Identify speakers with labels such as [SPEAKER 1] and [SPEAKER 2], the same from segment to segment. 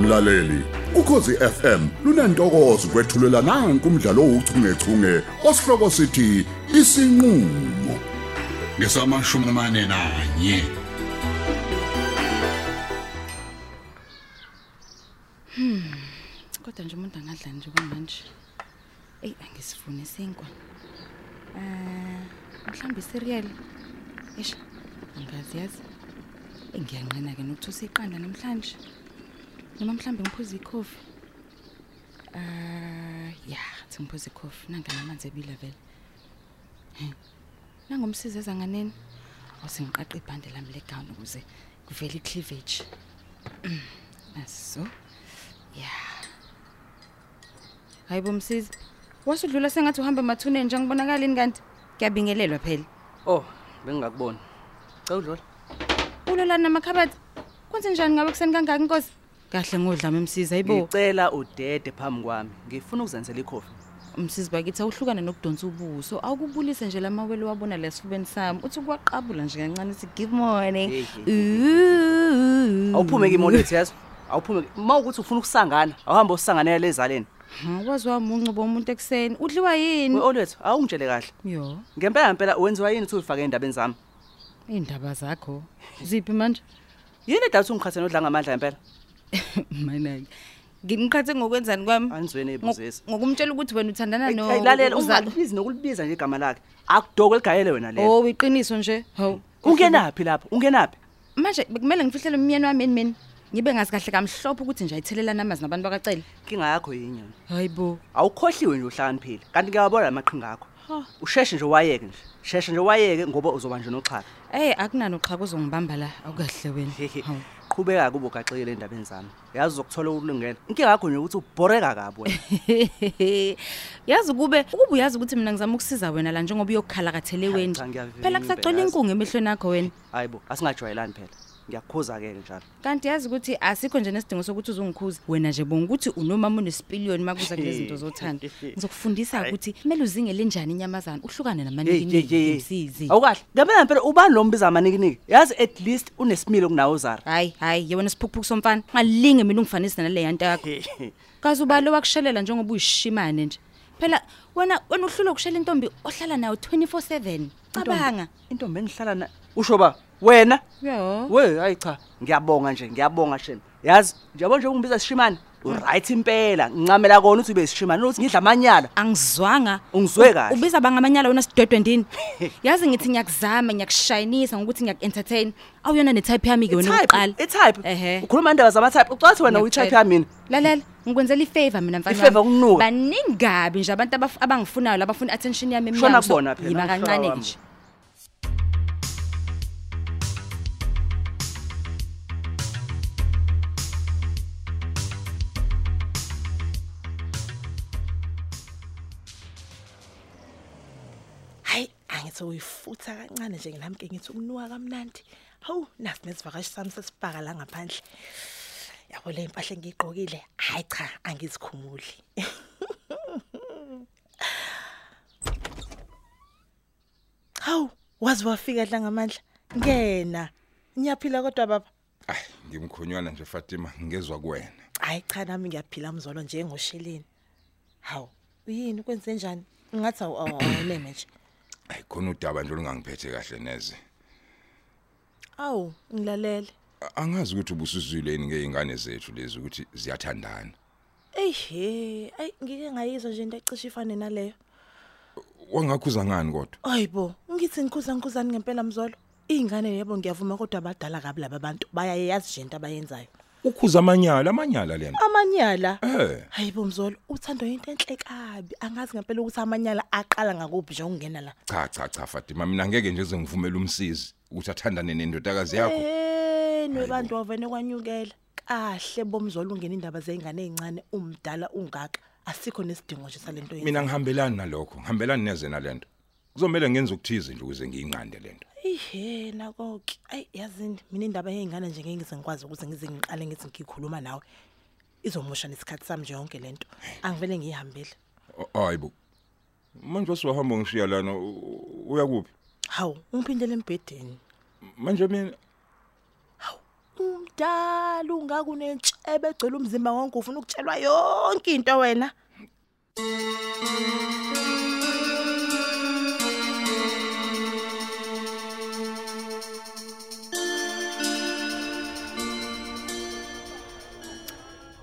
[SPEAKER 1] mlaleli ukhosi FM lunantokozo kwethulela nanku umdlalo ouchungechunge osihloko sithi isinqulo ngesamashumi mane nanye
[SPEAKER 2] kodwa nje umuntu angadla nje kwamanje eyi angisifune senkwa um mhlawumbe isiriyali esh angazi yazi Eh, ngiyanqena-ke nokuthusa iqanda namhlanje noma mhlawumbe ngiphuze ikhofi um ya thi ngiphuze ikhofi nanganamanzi ebila vele Hhe, nangomsizi ezanganeni awusengiqaqe ibhande lami legawuni ukuze kuvele i-cleavage aso ya hayi bomsizi wasudlula sengathi uhambe emathuneni nje angibonakalini kanti ngiyabingelelwa phela
[SPEAKER 3] Oh, bengingakuboni. Cha udlola.
[SPEAKER 2] ulolani namakhabathi kwenze njani ngabe kuseni kangaka inkosi kahle ngodlame msizi ayibo
[SPEAKER 3] Ngicela udede phambi kwami. Ngifuna ukuzenzela ikhofi.
[SPEAKER 2] msizi bakithi awuhlukane nokudonsa ubuso awukubulise nje lamawele wabona la esifubeni sami uthi kuwaqabula nje kancane uthi good
[SPEAKER 3] Hey,
[SPEAKER 2] morning
[SPEAKER 3] hey,
[SPEAKER 2] Ooh.
[SPEAKER 3] Awuphume ke imolethe yazo. Awuphume ke. Ma ukuthi ufuna ukusangana, awuhambe usanganela lezaleni.
[SPEAKER 2] Ha, wazi wami uncubo womuntu ekuseni udliwa
[SPEAKER 3] We
[SPEAKER 2] yini
[SPEAKER 3] olwethu, awungitshele kahle.
[SPEAKER 2] yo
[SPEAKER 3] Ngempela ngempela wenziwa yini uthi uyifake endabeni zami?
[SPEAKER 2] iy'ndaba zakho ziphi manje
[SPEAKER 3] Yini edatha ungikhathe nodla ngamandla ngempela?
[SPEAKER 2] mina-ke ngimqhathe ngokwenzani kwami
[SPEAKER 3] Anizweni
[SPEAKER 2] Ngo-
[SPEAKER 3] ebuzisi.
[SPEAKER 2] ngokumtshela ukuthi wena uthandana no
[SPEAKER 3] Lalela
[SPEAKER 2] uzalo.
[SPEAKER 3] ungabizi nokulibiza nje igama lakhe. Akudoko eligayele wena lelo.
[SPEAKER 2] oh iqiniso nje hawu
[SPEAKER 3] Ungenapi lapha? Ungenapi?
[SPEAKER 2] manje bekumele ngifihlele umyeni wami yini mina ngibe ngazi kahle kamhlophe ukuthi nje ayithelelana amazi nabantu bakacele
[SPEAKER 3] Inkinga yakho yinye. wena.
[SPEAKER 2] hayi bo
[SPEAKER 3] Awukhohliwe nje uhlakaniphile. Kanti ngiyabona amaqhinga akho. Usheshe nje wayeke nje. Sheshe nje wayeke ngoba uzobanjwa noxhaka.
[SPEAKER 2] eyi akunani uqhaka uzongibamba la akukahle wena Hawu.
[SPEAKER 3] qhubeka kubo kaxekile endabeni zami yazi uzokuthola ukulungela inkinga yakho nje ukuthi ubhoreka kabi wena
[SPEAKER 2] yazi kube ukuba uyazi ukuthi mina ngizama ukusiza wena la njengoba uyokukhalakathele
[SPEAKER 3] Hayi,
[SPEAKER 2] wena
[SPEAKER 3] cha, ngiyavimba,
[SPEAKER 2] phela kusagcwele
[SPEAKER 3] yazi.
[SPEAKER 2] inkungu emehlweni akho wena
[SPEAKER 3] hayi bo asingajwayelani phela ngiyakukhuza-ke njalo
[SPEAKER 2] kanti yazi ukuthi asikho nje nesidingo sokuthi uzongikhuza wena nje bonga ukuthi unomama unesipiliyoni uma kuza kule zinto zothando ngizokufundisa ukuthi kumele uzingele njani inyamazane uhlukane namanikinimsizi
[SPEAKER 3] awukahle ngempela ngempela ubani lo mbiza amanikiniki yazi at least unesimilo kunawe uzara
[SPEAKER 2] hayi hayi yewona siphukuphuku somfana ungalinge mina ungifanise nale yanto yakho kaze ubalo wakushelela njengoba uyishimane nje phela wena wena uhlule ukushela intombi ohlala nayo 24 7 cabanga
[SPEAKER 3] intombi engihlala na usho ba wena
[SPEAKER 2] yo
[SPEAKER 3] we hayi cha ngiyabonga nje ngiyabonga shema yazi njabo nje ungibiza sishimane uright impela ngincamela kona ukuthi ube sishimane ukuthi ngidla amanyala
[SPEAKER 2] angizwanga
[SPEAKER 3] Ungizwe
[SPEAKER 2] U-
[SPEAKER 3] kahle.
[SPEAKER 2] ubiza bangamanyala wena sidwedwe ndini yazi ngithi ngiyakuzama ngiyakushayinisa ngokuthi ngiyaku-entertain awuyona ne-type yami-ke wena oqala
[SPEAKER 3] itype
[SPEAKER 2] Ehhe.
[SPEAKER 3] ukhuluma indaba zama-type ucathi wena uyi-type yamina
[SPEAKER 2] lalela ngikwenzela i-favor mina mfana
[SPEAKER 3] I-favour
[SPEAKER 2] wami.
[SPEAKER 3] ukunuka.
[SPEAKER 2] baningi kabi nje abantu abaf- abangifunayo labafuna i-attention yami
[SPEAKER 3] Shona
[SPEAKER 2] emnyango. So,
[SPEAKER 3] kubona phela,
[SPEAKER 2] yima
[SPEAKER 3] angishona
[SPEAKER 2] kancane
[SPEAKER 3] wami.
[SPEAKER 2] nje
[SPEAKER 4] hayi angithi uyifutha kancane nje nami ke ngithi ukunuka kamnandi hawu nasi nesivakashi sami sesibhaka la ngaphandle yabo le mpahla engiyigqokile hayi cha angizikhumuli hawu wazi wafika hla ngamandla ngena ngiyaphila kodwa baba
[SPEAKER 5] ayi ngimkhonywana nje fatima ngezwa kuwena
[SPEAKER 4] hayi cha nami ngiyaphila mzolo njengosheleni hawu yini kwenze njani ngathi awuneme nje
[SPEAKER 5] ayi khona udaba nje olungangiphethe kahle neze
[SPEAKER 4] awu ngilalele
[SPEAKER 5] A- angazi ukuthi ubusuzwile yini ngey'ngane zethu lezi ukuthi ziyathandana
[SPEAKER 4] Ehe, ayi ngike ngayizwa nje into ecishe ifane naleyo.
[SPEAKER 5] wangakhuza ngani kodwa
[SPEAKER 4] Ayibo, ngithi ngikhuza ngikuzani ngempela mzolo. Izingane yebo ngiyavuma kodwa abadala kabi laba bantu bayayazi nje into abayenzayo.
[SPEAKER 5] ukhuza amanyala amanyala lena
[SPEAKER 4] Amanyala.
[SPEAKER 5] Eh.
[SPEAKER 4] Hayibo mzolo, uthando into enhle kabi. Angazi ngempela ukuthi amanyala aqala ngakuphi nje ungena la.
[SPEAKER 5] cha cha cha fatima mina ngeke nje zengivumele umsizi ukuthi athandane nendodakazi yakho
[SPEAKER 4] Eh, nebantu wavene kwanyukela. Kahle bomzolo ungena indaba zeingane ezincane umdala ungaka. Asikho nesidingo nje salento yini.
[SPEAKER 5] mina ngihambelani nalokho ngihambelani neze nalento kuzomele ngenze ukuthize nje ukuze ngiyinqande lento
[SPEAKER 4] ihe nako-ke ayi yazini mina indaba yey'ngane nje ngeke ngize ngikwazi ukuthi ngize ngiqale ngithi ngikhuluma nawe izomusha nesikhathi sami nje yonke le nto angivele ngiyihambile
[SPEAKER 5] O- hayi bo manje wasuwahamba ngishiya lana u- u- uya kuphi
[SPEAKER 4] hawu ungiphindele embhedeni
[SPEAKER 5] manje mina
[SPEAKER 4] hawu umdala ungakunentshebe egcwele umzimba wonke ufuna ukutshelwa yonke into wena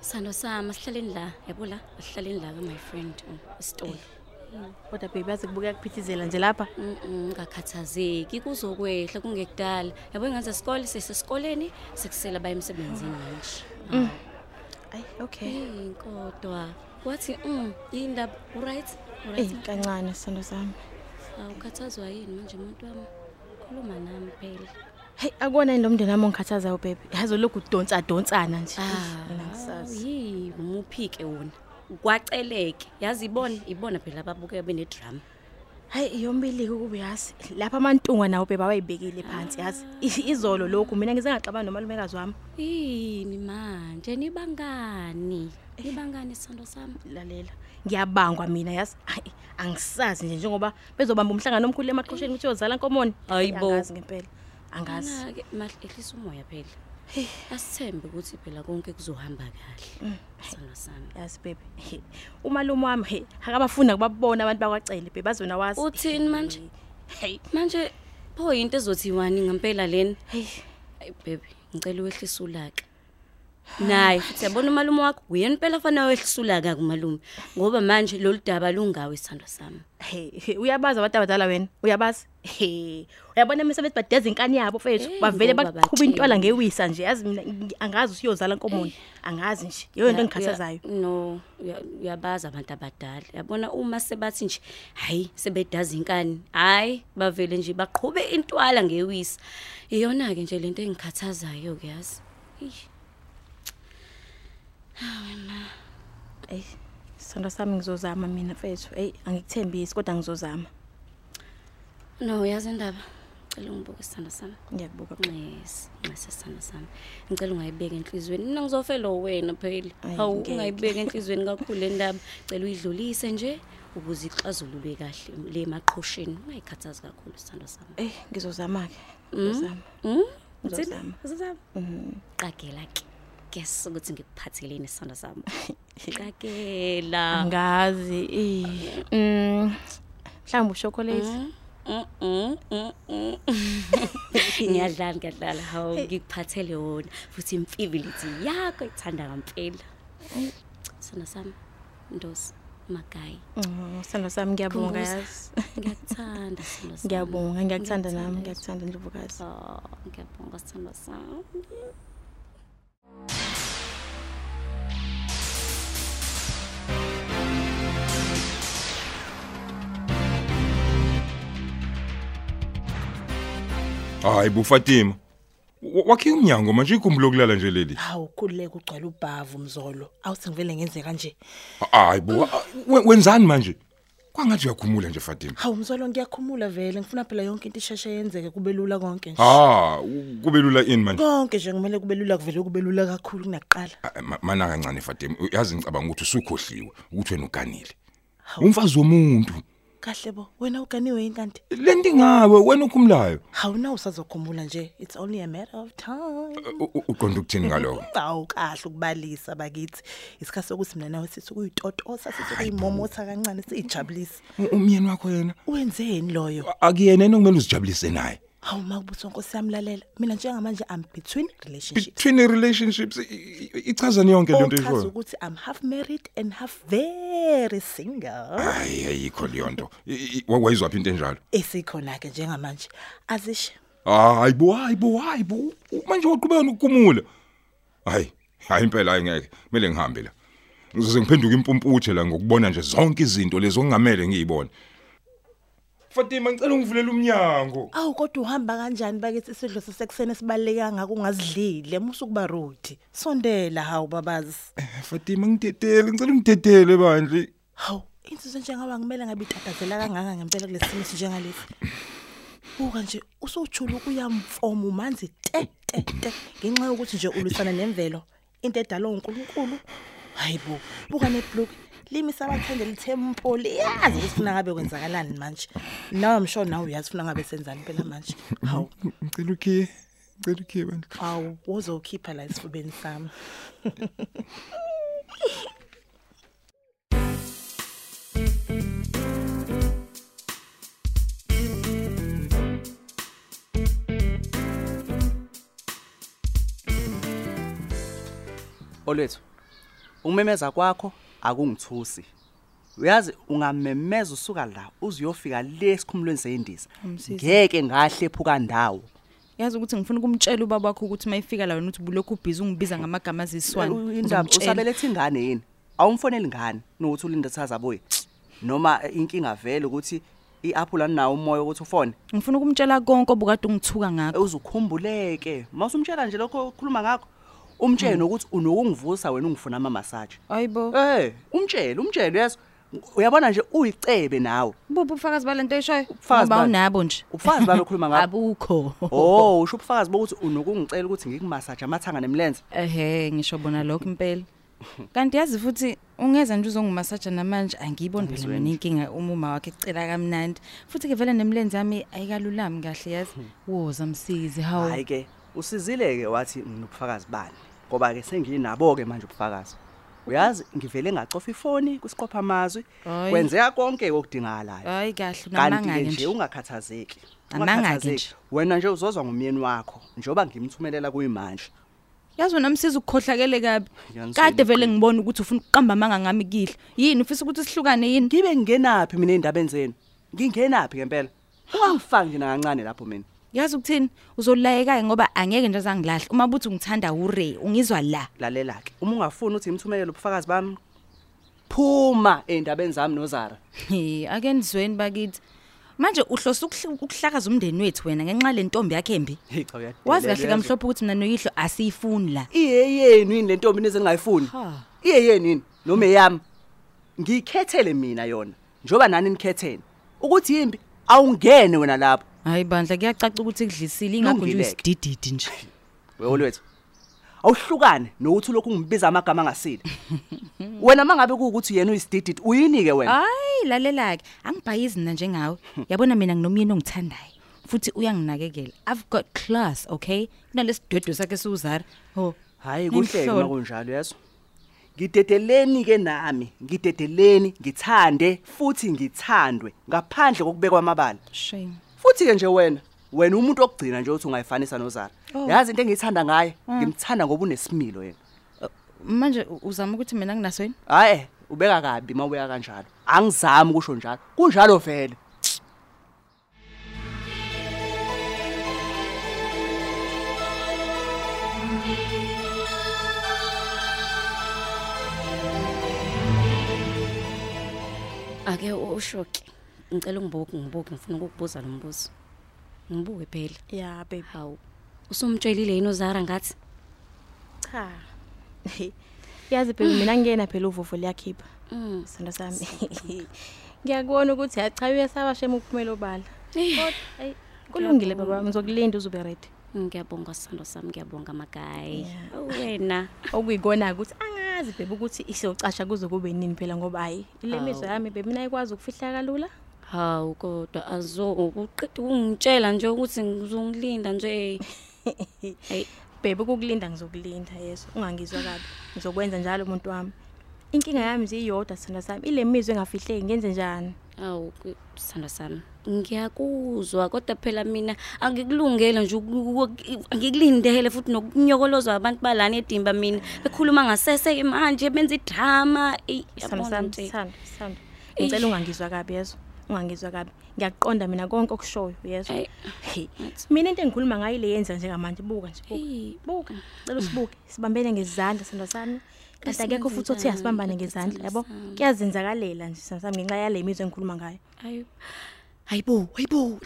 [SPEAKER 6] sithando sami asihlaleni la yabo la asihlaleni la my friend oh, isitolo
[SPEAKER 7] kodwa baby aze kubukeka kuphithizela nje lapha
[SPEAKER 6] Mm, mm, ungakhathazeki kuzokwehla kungekudala yabo ingane zesikole sisesikoleni sekusela baya emsebenzini manje
[SPEAKER 7] ayi okay
[SPEAKER 6] Eh, kodwa wathi mm, indaba uright
[SPEAKER 7] eyi
[SPEAKER 6] uright
[SPEAKER 7] kancane sithando sami
[SPEAKER 6] awukhathazwa yini manje umuntu wami khuluma nami phela
[SPEAKER 7] heyi akubona yini lo mndeni wami ongikhathazayo bhebhe yazi olokhu udonsadonsana nje mina ngisazi
[SPEAKER 6] yibo umuphike wona kwaceleke yazi ibona ibona phela ababuke benedrama
[SPEAKER 7] hayi yombili-ke ukube yazi lapha amantungwa nawo bhebhe awayibekile phansi yazi I- izolo lokhu mina ngize ngaxabani nomalumekazi wami
[SPEAKER 6] yini manje nibangani nibangani sithando sami
[SPEAKER 7] lalela ngiyabangwa mina yazi hayi angisazi nje njengoba bezobamba umhlangano omkhulu emaqhosheni ukuthi yozala nkomoni
[SPEAKER 6] Hayi bo.
[SPEAKER 7] angazi ngempela angazi
[SPEAKER 6] Mina-ke mahle ehlisa umoya phela asithembe ukuthi phela konke kuzohamba kahle sithando sami
[SPEAKER 7] yazi bebe he, umalume wami he akabafuna kubabona abantu bakwacele bebe bazona wazi
[SPEAKER 6] uthini manje hey manje pho into ezothiwani ngempela lena
[SPEAKER 7] hey
[SPEAKER 6] hayi bebe ngicela uwehlise ulaka naye futhi yabona umalume wakho uyena impela afanele wehlise ulaka kumalume ngoba manje lolu daba lungawe sithando sami
[SPEAKER 7] he, he uyabazi abantu abadala wena uyabazi he uyabona mse bethi badeza inkani yabo fethu
[SPEAKER 6] Eh,
[SPEAKER 7] bavele
[SPEAKER 6] ngoba
[SPEAKER 7] baqhuba intwala
[SPEAKER 6] batsheni.
[SPEAKER 7] ngewisa nje yazi mina ngi- angazi ukuthi uyozala nkomoni angazi nje yiyo into
[SPEAKER 6] Ya-
[SPEAKER 7] engikhathazayo
[SPEAKER 6] ya- no uya- uyabazi abantu abadala yabona uma sebathi nje hhayi sebedaza inkani hhayi bavele nje baqhube intwala ngewisa iyona-ke nje lento engikhathazayo-ke yazi Eish.
[SPEAKER 7] eyi sondo sami ngizozama mina fethu eyi angikuthembisi kodwa ngizozama
[SPEAKER 6] no yazi indaba cela ungibuke isithando sami Mm.
[SPEAKER 7] ngiyakubuka xa
[SPEAKER 6] nxese nxese sithando sami ngicela ungayibeka enhliziyweni mina ngizofelo wena phela
[SPEAKER 7] Ayi,
[SPEAKER 6] hawu
[SPEAKER 7] ngeke.
[SPEAKER 6] ungayibeka enhliziyweni kakhulu le ndaba cela uyidlulise nje ukuze ixazululwe kahle le maqhosheni ungayikhathazi kakhulu sithando sami
[SPEAKER 7] eyi ngizozama-ke
[SPEAKER 6] Mm?
[SPEAKER 7] ngizozama Ngizozama.
[SPEAKER 6] uzozama qagela ke guess ukuthi ngikuphatheleni isando sami qagela
[SPEAKER 7] ngazi eh, mm, mhlawumbe ushokolate
[SPEAKER 6] Mm, mm, mm, mm. ngiyadlala ngiyadlala hawu ngikuphathele wona futhi imfibilithi yakho ithanda kampela sando sami ndosi magayi
[SPEAKER 7] sithando Mm, sami ngiyabonga
[SPEAKER 6] Khumbuza.
[SPEAKER 7] yazi
[SPEAKER 6] ngiyakuthanda sando sami
[SPEAKER 7] ngiyabonga ngiyakuthanda nami ngiyakuthanda ndlovukazi
[SPEAKER 6] Oh, ngiyabonga sando sami
[SPEAKER 5] hayi bufatima wa- wakhe umnyango manje igumbi lokulala nje leli
[SPEAKER 4] hawu khululeka ugcwala ubhavu mzolo awuthi ngivele ngenze kanje
[SPEAKER 5] hayi bo ah, we- wenzani manje kwangathi uyakhumula nje fatima
[SPEAKER 4] hawu mzolo ngiyakhumula vele ngifuna phela yonke into isheshe yenzeke kube lula konke nje
[SPEAKER 5] ha u- kube lula ini manje
[SPEAKER 4] konke nje kumele kube lula kuvele kube lula kakhulu kunakuqala
[SPEAKER 5] Ah, ma- mana kancane fatima yazi ngicabanga ukuthi usukhohliwe ukuthi wena uganile umfazi womuntu
[SPEAKER 4] kahle bo wena uganiwe yini kanti
[SPEAKER 5] lento ingawe wena ukhumlayo
[SPEAKER 4] hawu na usazokhumbula nje it's only a matter of time
[SPEAKER 5] U- u- uqonda ukuthini ngalokho
[SPEAKER 4] hawu kahle ukubalisa bakithi isikhathi sokuthi mina nawe sithi ukuyitotosa sithi ukuyimomotha kancane siyijabulise
[SPEAKER 5] U- umyeni wakho yena
[SPEAKER 4] wenzeni loyo
[SPEAKER 5] A- akuyena yena okumele uzijabulise naye
[SPEAKER 4] hawu ma kubuthwa nkosi yami lalela mina njengamanje am between relationships
[SPEAKER 5] between i-relationships i- i- i- ichazani yonke lento
[SPEAKER 4] ochaza
[SPEAKER 5] eshoyo
[SPEAKER 4] ukuthi i'm half married and half very single
[SPEAKER 5] hayi ayikho leyo nto I- i- wa- wayizwaphi into enjalo
[SPEAKER 4] esikhona-ke njengamanje azishe
[SPEAKER 5] hayi bo hayi bo hayi bo U- manje waqhubeka nokukhumula hayi hayi impela hayi ngeke kumele ngihambe la ngizoze ngiphenduke impumputhe la ngokubona nje zonke izinto lezo kungamele ngiyibone Fatima ngicela ungivulele umnyango
[SPEAKER 4] awu kodwa uhamba kanjani bakithi isidlo sasekuseni esibaluleke kangako ungazidlile musukuba rodi sondela hawu babazi
[SPEAKER 5] Fatima ngidedele ngicela ungidedele bandle
[SPEAKER 4] hawu insizwe njengaba kumele ngabe itatazela kangaka ngempela kulesi simo sinjengalesi buka nje usujula ukuyamfoma umanzi te te te ngenxa yokuthi nje ulwisana nemvelo into edalwa unkulunkulu hayi bo buka nebhluku limisa abathende lithe mpo liyazi ukuthi funa ngabe kwenzakalani manje nawe msho nawe uyazi funa ngabe senzani impela manje hawu
[SPEAKER 5] ngicela ukhiye Cela ukhibe nhle.
[SPEAKER 4] Awu, wozokhipha la esifubeni sami.
[SPEAKER 3] olwethu ukumemeza kwakho akungithusi uyazi ungamemeza usuka la uzuyofika le esikhumulweni sendiza
[SPEAKER 2] Ngiyamsiza.
[SPEAKER 3] ngeke ngahlephuka ndawo
[SPEAKER 2] yazi ukuthi ngifuna ukumtshela ubaba wakho ukuthi uma efika la wena uthi bulokhu ubhizi ungibiza ngamagama aziswana
[SPEAKER 3] indaba usabeletha ingane yini awumfoneli ngane nokuthi ulinde sazabuye noma eh, inkinga vele ukuthi i-aphula ninawo umoya ukuthi ufone
[SPEAKER 2] ngifuna ukumtshela konke obukade ungithuka
[SPEAKER 3] Eh,
[SPEAKER 2] ngakho
[SPEAKER 3] uzukhumbuleke mawusumtshela nje lokho okhuluma ngakho umtshele nokuthi unokungivusa wena ungifuna amamasage
[SPEAKER 2] hayibo
[SPEAKER 3] Eh, umtshele, umtshele yes. Uyabona nje uyicebe nawe.
[SPEAKER 2] buphi ubufakazi bale nto eshoyo
[SPEAKER 3] Ubufakazi
[SPEAKER 2] Ngoba
[SPEAKER 3] bani?
[SPEAKER 2] unabo nje
[SPEAKER 3] Ubufakazi balokhuluma ngabo.
[SPEAKER 2] abukho
[SPEAKER 3] Oh, usho ubufakazi bokuthi unokungicela ukuthi ngikumassage amathanga nemlenze.
[SPEAKER 2] ehe ngisho bona lokho impela kanti yazi futhi ungeza nje uzongumasaja namanje angiyiboni phela mina inkinga umuma wakhe ecela kamnandi futhi-ke vele nemlenzi yami ayikalulami kahle yazi woza msizi hawu
[SPEAKER 3] Hmm. Hayi ke, usizile ke wathi nginobufakazi bani. Ngoba ke senginabo ke manje ubufakazi. Uyazi ngivele ngacofa ifoni kusiqopha amazwi.
[SPEAKER 2] Hhayi.
[SPEAKER 3] Kwenzeka konke okudingakalayo.
[SPEAKER 2] hayi kahle
[SPEAKER 3] Kanti ke
[SPEAKER 2] namangake
[SPEAKER 3] nje
[SPEAKER 2] nje
[SPEAKER 3] ungakhathazeki.
[SPEAKER 2] Namanga-ke nje.
[SPEAKER 3] Ungakhathazeki. Wena nje uzozwa ngumyeni wakho njengoba ngimthumelela kuyimanje.
[SPEAKER 2] yazi wena msizi ukukhohlakele kabi
[SPEAKER 3] Yaniswa
[SPEAKER 2] kade vele
[SPEAKER 3] yini?
[SPEAKER 2] ngibona ukuthi ufuna ukuqamba amanga ngami kihle yini ufisa ukuthi sihlukane yini
[SPEAKER 3] Ngibe ngingenaphi mina endabeni zenu? Ngingenaphi ngempela? Ungangifaki nje nakancane lapho mina.
[SPEAKER 2] yazi ukuthini uzolayeka-ke ngoba angeke nje azangilahle uma buthi ungithanda ure ungizwa la
[SPEAKER 3] lalela ke uma ungafuni ukuthi ngimthumelele ubufakazi bami phuma endabeni zami nozara
[SPEAKER 2] He, akenzweni bakithi manje uhlose ukuhla- ukuhlakaza umndeni wethu wena ngenxa le ntombi yakhe mbi
[SPEAKER 3] hey cha uyadelela
[SPEAKER 2] wazi kahle kamhlophe ukuthi mina noyihlo asiyifuni la
[SPEAKER 3] iyeyenu yini lento mina ezingayifuni
[SPEAKER 2] Ha.
[SPEAKER 3] iyeyenu yini noma eyami ngikhethele mina yona njoba nani nikhethene ukuthi yimbi awungene wena lapho
[SPEAKER 2] hayi bandla kuyacaca ukuthi kudlisile ingakho nje
[SPEAKER 3] Lungile-ke.
[SPEAKER 2] uyisidididi nje
[SPEAKER 3] wewolwethu awuhlukane nokuthi lokhu ungibiza amagama angasile wena mangabe kuukuthi yena uyisidididi uyini ke wena
[SPEAKER 2] hayi lalela-ke angibhayizi mna njengawe yabona mina nginomyeni ongithandayo futhi uyanginakekela i've got class okay kunalesidwedwe sakhe siwuzara ho
[SPEAKER 3] hayi kuhleke
[SPEAKER 2] Oh, Ngimhlole.
[SPEAKER 3] makunjalo yeso ngidedeleni ke nami ngidedeleni ngithande futhi ngithandwe ngaphandle kokubekwa amabala
[SPEAKER 2] shame
[SPEAKER 3] futhi ke nje wena wena umuntu okugcina nje ukuthi ungayifanisa nozara yazi into engiyithanda ngaye ngimthanda ngoba unesimilo yena
[SPEAKER 2] manje u- uzama ukuthi mina nginaso yini
[SPEAKER 3] hayi ubeka kabi mawuya kanjalo angizami kusho njalo kunjalo vele
[SPEAKER 6] Ake ushoke. Ngicela ungibuke ngibuke ngifuna ukukubuza lo mbuzo. Ngibuke phela.
[SPEAKER 7] ya baby
[SPEAKER 6] Hawu. Usumtshelile yini uZara ngathi?
[SPEAKER 7] cha yazi baby mina ngiyena phela uvovo liyakhipha
[SPEAKER 6] Mm.
[SPEAKER 7] sithando sami ngiyakubona ukuthi hayi cha uyesaba shema ukuphumela obala kodwa ayi kulungile baba ngizokulinda uze ube ready
[SPEAKER 6] Ngiyabonga Sando sami, ngiyabonga magayi. Wena.
[SPEAKER 7] okuyikona ukuthi angazi baby ukuthi isiyocasha kuze kube nini phela ngoba hayi ile
[SPEAKER 6] Hawu.
[SPEAKER 7] mizwa yami baby mina ayikwazi ukufihla kalula
[SPEAKER 6] Hawu kodwa azo uqeda ukungitshela nje ukuthi ngizongilinda nje. Hey,
[SPEAKER 7] baby ukukulinda ngizokulinda yeso ungangizwa kabi ngizokwenza njalo umuntu wami inkinga yami nje iyodwa sithando sami ile mizwa engafihleki ngenze njani
[SPEAKER 6] awu Sando sami. Ngiyakuzwa kodwa phela mina angikulungele nje uku- uku- angikulindele futhi nokunyokolozwa abantu balana edimba mina. Bekhuluma ngasese ke manje benza idrama. Ey,
[SPEAKER 7] sithando
[SPEAKER 6] yabona
[SPEAKER 7] sami
[SPEAKER 6] nje.
[SPEAKER 7] sithando sithando
[SPEAKER 6] Eish.
[SPEAKER 7] ngicela ungangizwa kabi yeso ungangizwa kabi ngiyakuqonda mina konke okushoyo yeso
[SPEAKER 6] Ay.
[SPEAKER 7] Hey, mina into engikhuluma ngayo ile yenza njengamanje buka nje buka
[SPEAKER 6] Hey.
[SPEAKER 7] buka cela usibuke sibambene ngezandla sithando sami kanti akekho futhi othe
[SPEAKER 6] Esimenzani,
[SPEAKER 7] asibambane ngezandla yabo
[SPEAKER 6] sithandwa sami.
[SPEAKER 7] kuyazenzakalela nje sithando sami ngenxa yale mizwa engikhuluma ngayo
[SPEAKER 6] Hayi. Hayibo, hayibo.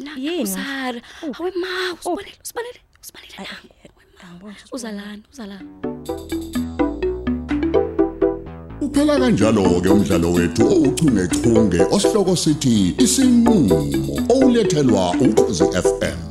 [SPEAKER 6] Nanga
[SPEAKER 7] Yini?
[SPEAKER 6] usara.
[SPEAKER 7] Uphi?
[SPEAKER 6] Hawe ma, usibanele, usibanele, usibanele
[SPEAKER 7] Ay,
[SPEAKER 6] nangu.
[SPEAKER 7] ay,
[SPEAKER 6] Hawe ma.
[SPEAKER 7] angiboni ukuthi
[SPEAKER 6] Uza lana, uza lana.
[SPEAKER 1] Uphela kanjalo ke umdlalo wethu ouchungechunge osihloko sithi isinqulo olethelwa ukhozi FM.